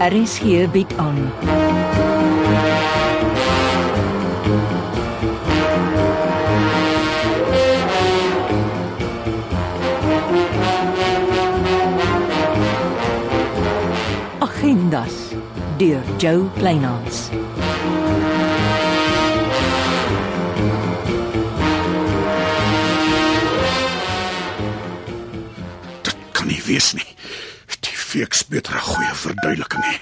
RSG bied aan. Agendas deur Jo Kleinhans. Dit kan nie wees nie. Die feeks beter 'n goeie verduideliking hê.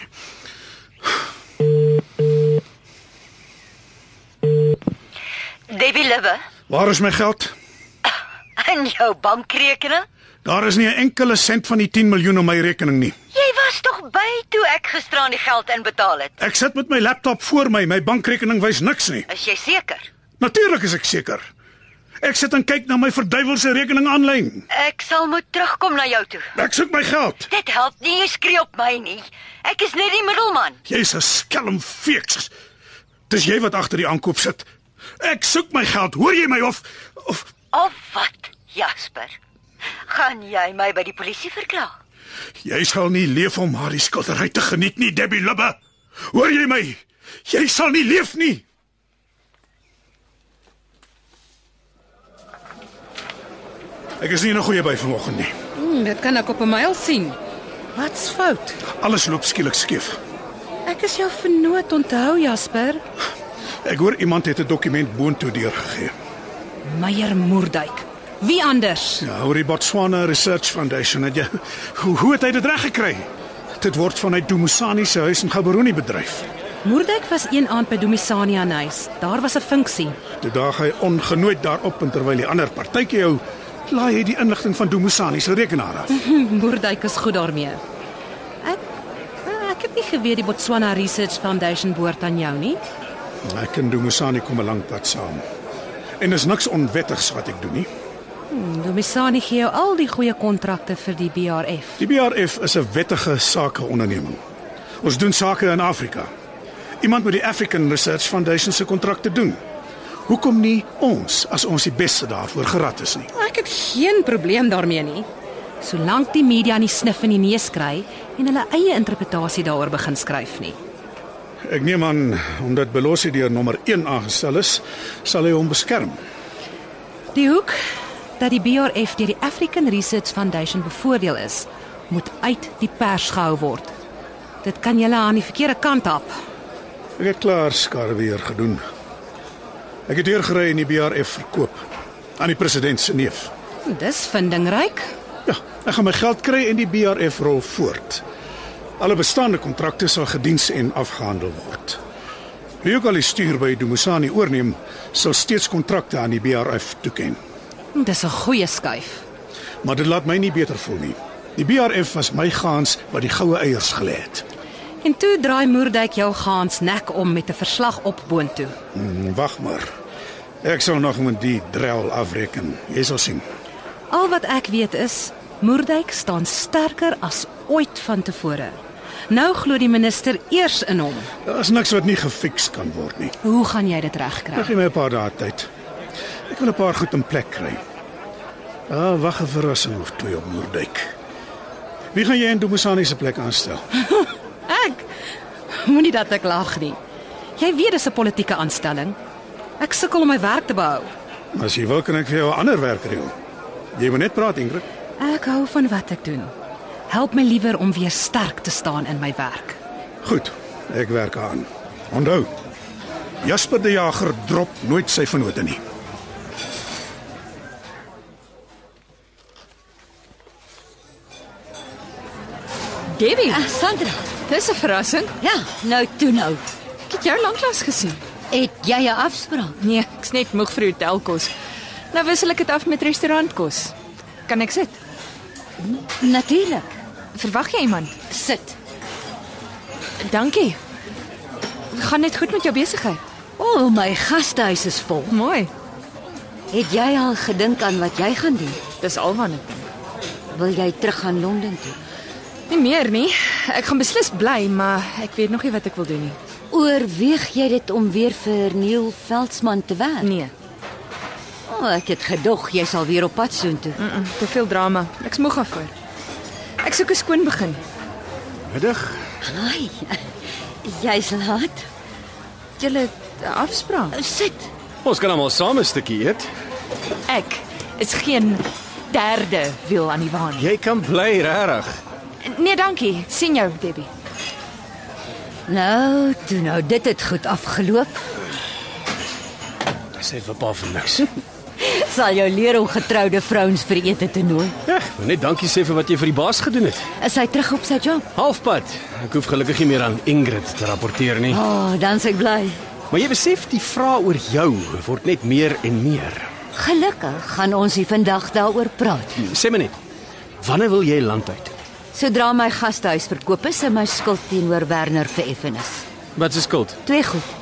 Debbie Libbe, Waar is my geld? in jou bankrekening? Daar is nie 'n enkele sent van die 10 miljoen op my rekening nie. Jy was tog by toe ek gisteraan die geld inbetaal het. Ek sit met my laptop voor my, my bankrekening wys niks nie. Is jy seker? Natuurlik is ek seker. Ek sit en kyk na my verduiwelse rekening aanlyn. Ek sal moet terugkom na jou toe. Ek soek my geld. Dit help nie jy skree op my nie. Ek is net die middelman. Jy's 'n skelm feeks. Dis jy wat agter die aankoop sit. Ek soek my geld. Hoor jy my of of Of wat, Jasper? Gaan jy my by die polisie verklaar? Jy sal nie leef om haar die skildery te geniet nie, Debbie Libbe. Hoor jy my? Jy sal nie leef nie. Ek is nie in 'n goeie by vanoggend nie. Hmm, dit kan ek op 'n mail sien. Wat's fout? Alles loop skielik skeef. Ek is jou vernoot, onthou Jasper. Ek hoor iemand het 'n dokument boontoe deurgegee. Meyer Moerdijk. Wie anders? Ja, oor die Botswana Research Foundation het jy hoe, hoe het hy dit reg gekry? Dit word vanuit Dumusani se huis in Gaborone bedryf. Moerdijk was een aand by Domisani aan huis. Daar was 'n funksie. Toe daag hy ongenooid daarop en terwyl die ander partytjie hou, laai hy die inligting van Dumusani se rekenaar af. Moerdijk is goed daarmee. Ek eh, ek het nie geweet die Botswana Research Foundation behoort aan jou nie. Ek en Dumusani kom 'n lang pad saam. En is niks onwettigs wat ek doen nie. Domisani Nou, gee jou al die goeie kontrakte vir die BRF. Die BRF is 'n wettige sakeonderneming. Ons doen sake in Afrika. Iemand moet die African Research Foundation se kontrakte doen. Hoekom nie ons as ons die beste daarvoor gerad is nie? Ek het geen probleem daarmee nie. Solank die media nie snif in die neus kry en hulle eie interpretasie daaroor begin skryf nie. Ek neem aan omdat Belossi deur nommer 1 aangestel is, sal hy hom beskerm. Die hoek dat die BRF deur die African Research Foundation bevoordeel is, moet uit die pers gehou word. Dit kan julle aan die verkeerde kant hap. Ek het klaar skare weer gedoen. Ek het deurgery en die BRF verkoop aan die president se neef. Dis vindingryk. Ja, ek gaan my geld kry en die BRF rol voort. Alle bestaande kontrakte sal gediens en afgehandel word. Wie ook al die stuur by Dumusani oorneem, sal steeds kontrakte aan die BRF toeken. Dis 'n goeie skuif. Maar dit laat my nie beter voel nie. Die BRF was my gaans wat die goue eiers gelê het. En toe draai Moerdijk jou gaans nek om met 'n verslag op boontoe. Hmm, Wag maar. Ek sal nog met die drel afreken. Jy sal sien. Al wat ek weet is Moerdijk staan sterker as ooit van tevore. Nou glo die minister eers in hom. Daar is niks wat nie gefiks kan word nie. Hoe gaan jy dit regkry? Ek gee my 'n paar dae tyd. Ek wil 'n paar goed in plek kry. Ah, wag 'n verrassing of twee op Moerdijk. Wie gaan jy in Dumusani se plek aanstel? Ek moenie dat ek lag nie. Jy weet dis 'n politieke aanstelling. Ek sukkel om my werk te behou. As jy wil kan ek vir jou 'n ander werk reël. Jy moet net praat, Ingrid. Ek hou van wat ek doen. Help my liewer om weer sterk te staan in my werk. Goed, ek werk aan. Onthou, Jasper die Jager drop nooit sy vennote nie. Debbie, Eh, Sandra. Dis 'n verrassing. Ja, nou toe nou. Ek het jou lanklaas gesien. Het jy 'n afspraak? Nee, ek's net moeg vir hotelkos. Nou wissel ek dit af met restaurantkos. Kan ek sit? Natuurlik. Verwag jy iemand? Sit. Dankie. Gaan dit goed met jou besigheid? O, oh, my gastehuis is vol. Mooi. Het jy al gedink aan wat jy gaan doen? Dis al wat ek dink. Wil jy terug aan Londen toe? Nie meer nie. Ek gaan beslis bly, maar ek weet nog nie wat ek wil doen nie. Oorweeg jy dit om weer vir Neil Veldsmann te werk? Nee, Nee. O, oh, ek het gedog jy sal weer op pad soontoe. mm -mm, te veel drama. Ek's moeg daarvoor. Ek soek 'n skoon begin. Middag, Ai. Jy's laat. Julle afspraak. Sit. Ons kan almal saam 'n stukkie eet. Ek is geen derde wiel aan die waan. Jy kan bly regtig. Nee, dankie. sien jou, Debbie. Nou, toe nou, dit het goed afgeloop. Sê vir pa vir niks. Sal jou leer om getroude vrouens vir ete te nooi. Ja, maar net dankie sê vir wat jy vir die baas gedoen het. Is hy terug op sy job? Halfpad. Ek hoef gelukkig nie meer aan Ingrid te rapporteer nie. Ja. O, oh, dan se ek bly. Maar jy besef die vrae oor jou word net meer en meer. Gelukkig gaan ons hier vandag daaroor praat. Sê my net. Wanneer wil jy land uit? Sodra my gastehuis verkoop is, is my skuld teenoor Werner vereffenis. Wat is skuld? Twee goed.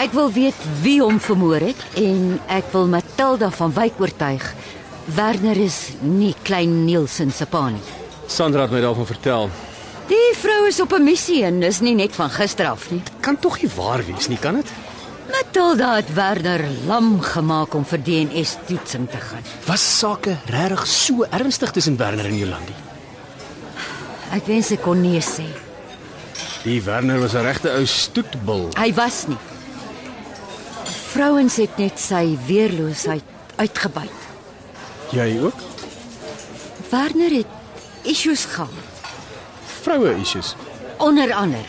Ek wil weet wie hom vermoor het en ek wil Matilda van Wyk oortuig. Werner is nie klein Nielsen se pa nie. Sandra het my daarvan vertel. Die vrou is op 'n missie en is nie net van gister af nie. Kan tog nie waar wees nie, kan dit? Matilda het Werner lam gemaak om vir DNS-toetsing te gaan. Was sake regtig so ernstig tussen Werner en Jolandi? Ek wens ek kon nee sê. Die Werner was 'n regte ou stoetbul. Hy was nie. Vrouens het net sy weerloosheid uitgebuit. Jy ook? Werner het issues gehad, Vroue issues. onder andere.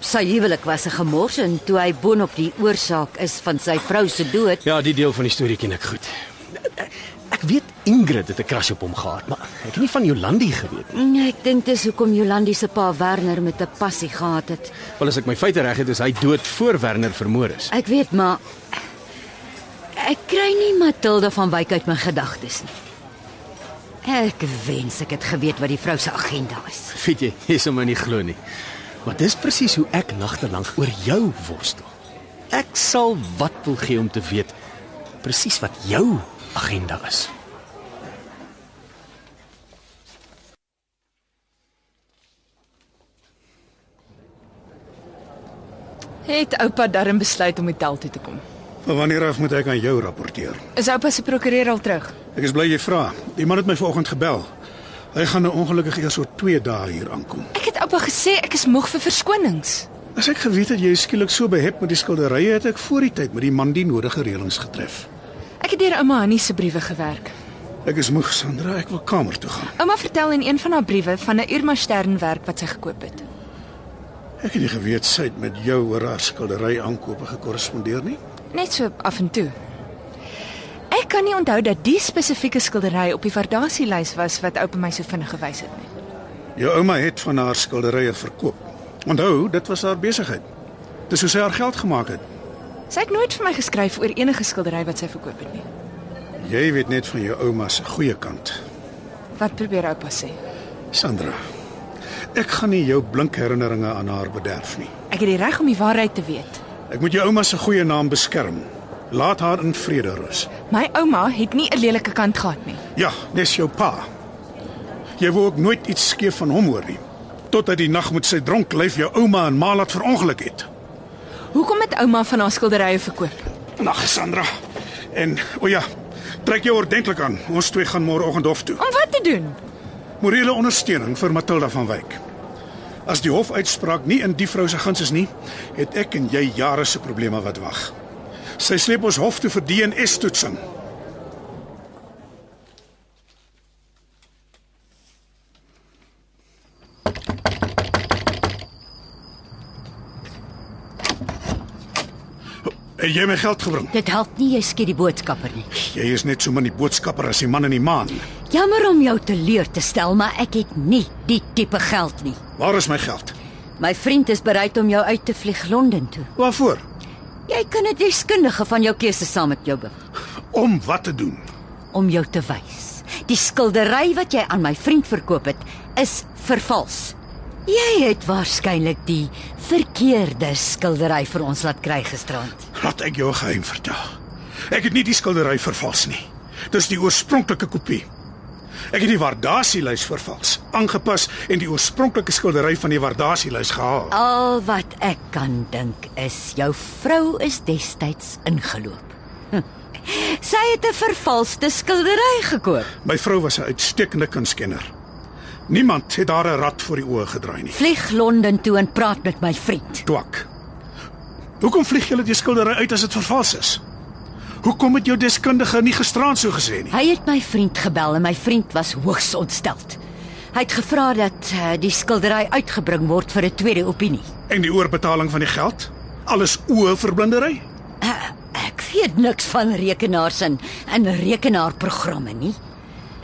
Sy huwelik was 'n gemors en toe hy boonop die oorsaak is van sy vrou se dood, Ja, die deel van die storie ken ek goed. Ek weet Ingrid het 'n crush op hom gehad, maar ek het nie van Jolandi geweet nie. nee, ek dink dis hoekom Jolandi se pa Werner met 'n passie gehad het. Wel as ek my feite reg het, is hy dood voor Werner vermoor is. Ek weet maar ek kry nie Matilda van Wyk uit my gedagtes nie. Ek wens ek het geweet wat die vrou se agenda is. Weet jy, jy sal my nie glo nie. Maar dis presies hoe ek nagte lank oor jou worstel. Ek sal wat wil gee om te weet presies wat jou agenda is. Het oupa darm besluit om hotel toe te kom. Van wanneer af moet ek aan jou rapporteer? Is oupa se prokureur al terug? Ek is bly jy vra. Die man het my vanoggend gebel. Hy gaan nou ongelukkig eers oor 2 dae hier aankom. Ek het oupa gesê ek is moeg vir verskonings. As ek geweet het jy is skielik so behep met die skilderye, het ek voor die tyd met die man die nodige reëlings getref. Ek het deur ouma Annie se briewe gewerk. Ek is moeg, Sandra, ek wil kamer toe gaan. Ouma vertel in een van haar briewe van 'n Irma Stern werk wat sy gekoop het. Ek het nie geweet sy het met jou oor haar skildery aankope gekorrespondeer nie. Net so af en toe. Ek kan nie onthou dat die spesifieke skildery op die verdasielys was wat oupa my so vinnig gewys het nie. Jou ouma het van haar skilderye verkoop. Onthou, dit was haar besigheid. Dis hoe sy haar geld gemaak het. Sy het nooit vir my geskryf oor enige skildery wat sy verkoop het nie. Jy weet net van jou ouma se goeie kant. Wat probeer oupa sê? Sandra, ek gaan nie jou blink herinneringe aan haar bederf nie. Ek het die reg om die waarheid te weet. Ek moet jou ouma se goeie naam beskerm. Laat haar in vrede rus. My ouma het nie 'n lelike kant gehad nie. Ja, dis jou pa. Jy wou ook nooit iets skeef van hom hoor nie. Tot uit die nag met sy dronk lyf jou ouma en ma laat verongeluk het. Hoekom het ouma van haar skilderye verkoop? Nag, Sandra. En o ja, trek jou ordentlik aan. Ons twee gaan môreoggend hof toe. Om wat te doen? Morele ondersteuning vir Matilda van Wyk. As die hofuitspraak nie in die vrou se guns is nie, het ek en jy jare se probleme wat wag. Sy sleep ons hof toe vir DNA-toetsing. Het jy my geld gebring? Dit help nie jy skiet die boodskapper nie. Jy is net so min die boodskapper as die man in die maan. Jammer om jou teleur te stel, maar ek het nie die tipe geld nie. Waar is my geld? My vriend is bereid om jou uit te vlieg Londen toe. Waarvoor? Jy kan 'n deskundige van jou keuse saam met jou bring Om wat te doen? om jou te wys. Die skildery wat jy aan my vriend verkoop het, is vervals. Jy het waarskynlik die verkeerde skildery vir ons laat kry gisterand. Laat ek jou 'n geheim vertel. Ek het nie die skildery vervals nie. Dis die oorspronklike kopie. Ek het die waardasielys vervals, aangepas en die oorspronklike skildery van die waardasielys gehaal. Al wat ek kan dink is jou vrou is destyds ingeloop. Hm. Sy het 'n vervalste skildery gekoop. My vrou was 'n uitstekende kunstkenner. Niemand het haar 'n rad voor die oë gedraai nie. Vlieg Londen toe en praat met my vriend. Twak. Hoekom vlieg julle die skildery uit as dit vervals is? Hoekom het jou deskundige nie gisteraand so gesê nie? Hy het my vriend gebel en my vriend was hoogs ontsteld. Hy het gevra dat uh, die skildery uitgebring word vir 'n tweede opinie. En die oorbetaling van die geld? Alles oë verblindery? Uh, ek weet niks van rekenaars en en rekenaarprogramme nie.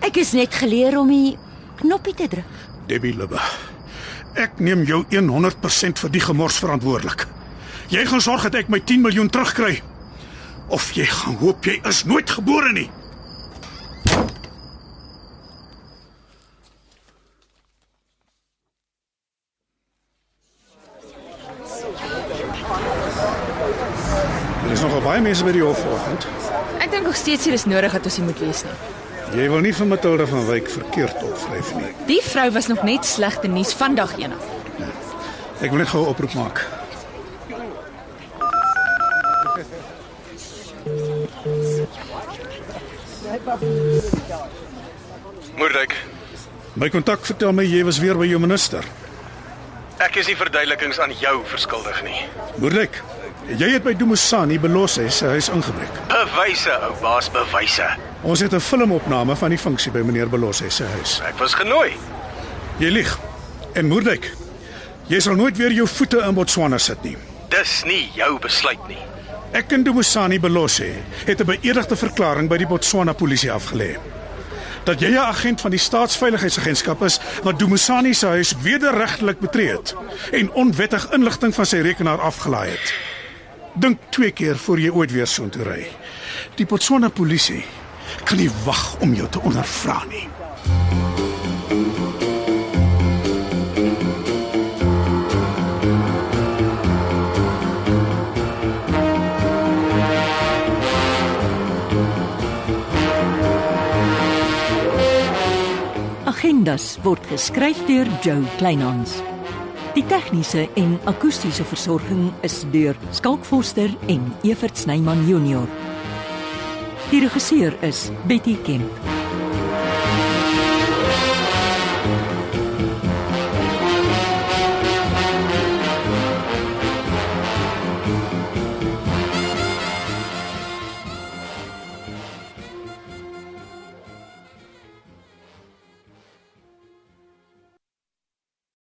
Ek is net geleer om die knoppie te druk. Debbie Libbe. Ek neem jou 100% vir die gemors verantwoordelik. Jy gaan sorg dat ek my 10 miljoen terugkry. Of jy gaan hoop jy is nooit gebore nie. Er is nogal baie mense by die hof vanoggend. Ek dink nog steeds hier is nodig dat ons hier moet wees nie. Jy wil nie vir Matilda van Wyk verkeerd opskryf nie. Die vrou was nog net slegte nuus vandag eendag. Ek wil net gou 'n oproep maak. Moerdijk, My kontak vertel my jy was weer by jou minister. ek is nie verduidelikings aan jou verskuldig nie. Moeilik. Jy het by Dumusani belos hy sy huis ingebreek. Bewyse, ou baas, bewyse. Ons het 'n filmopname van die funksie by meneer Belos hy se huis. Ek was genooi. Jy lieg. En Moerdijk, jy sal nooit weer jou voete in Botswana sit nie. Dis nie jou besluit nie. Ek en Dumusani Belos hy het 'n beëdigde verklaring by die Botswana polisie afgelê. Dat jy 'n agent van die staatsveiligheidsagentskap is wat Dumusani se huis wederregtelik betree het en onwettig inligting van sy rekenaar afgelaai het. Dink twee keer voor jy ooit weer soontoe ry. Die Botswana polisie kan nie wag om jou te ondervra nie. Agendas word geskryf deur Joe Kleinhans. Die tegniese en akoestiese versorging is deur Skalk Forster en Evert Snyman Junior. Die regisseur is Betty Kemp.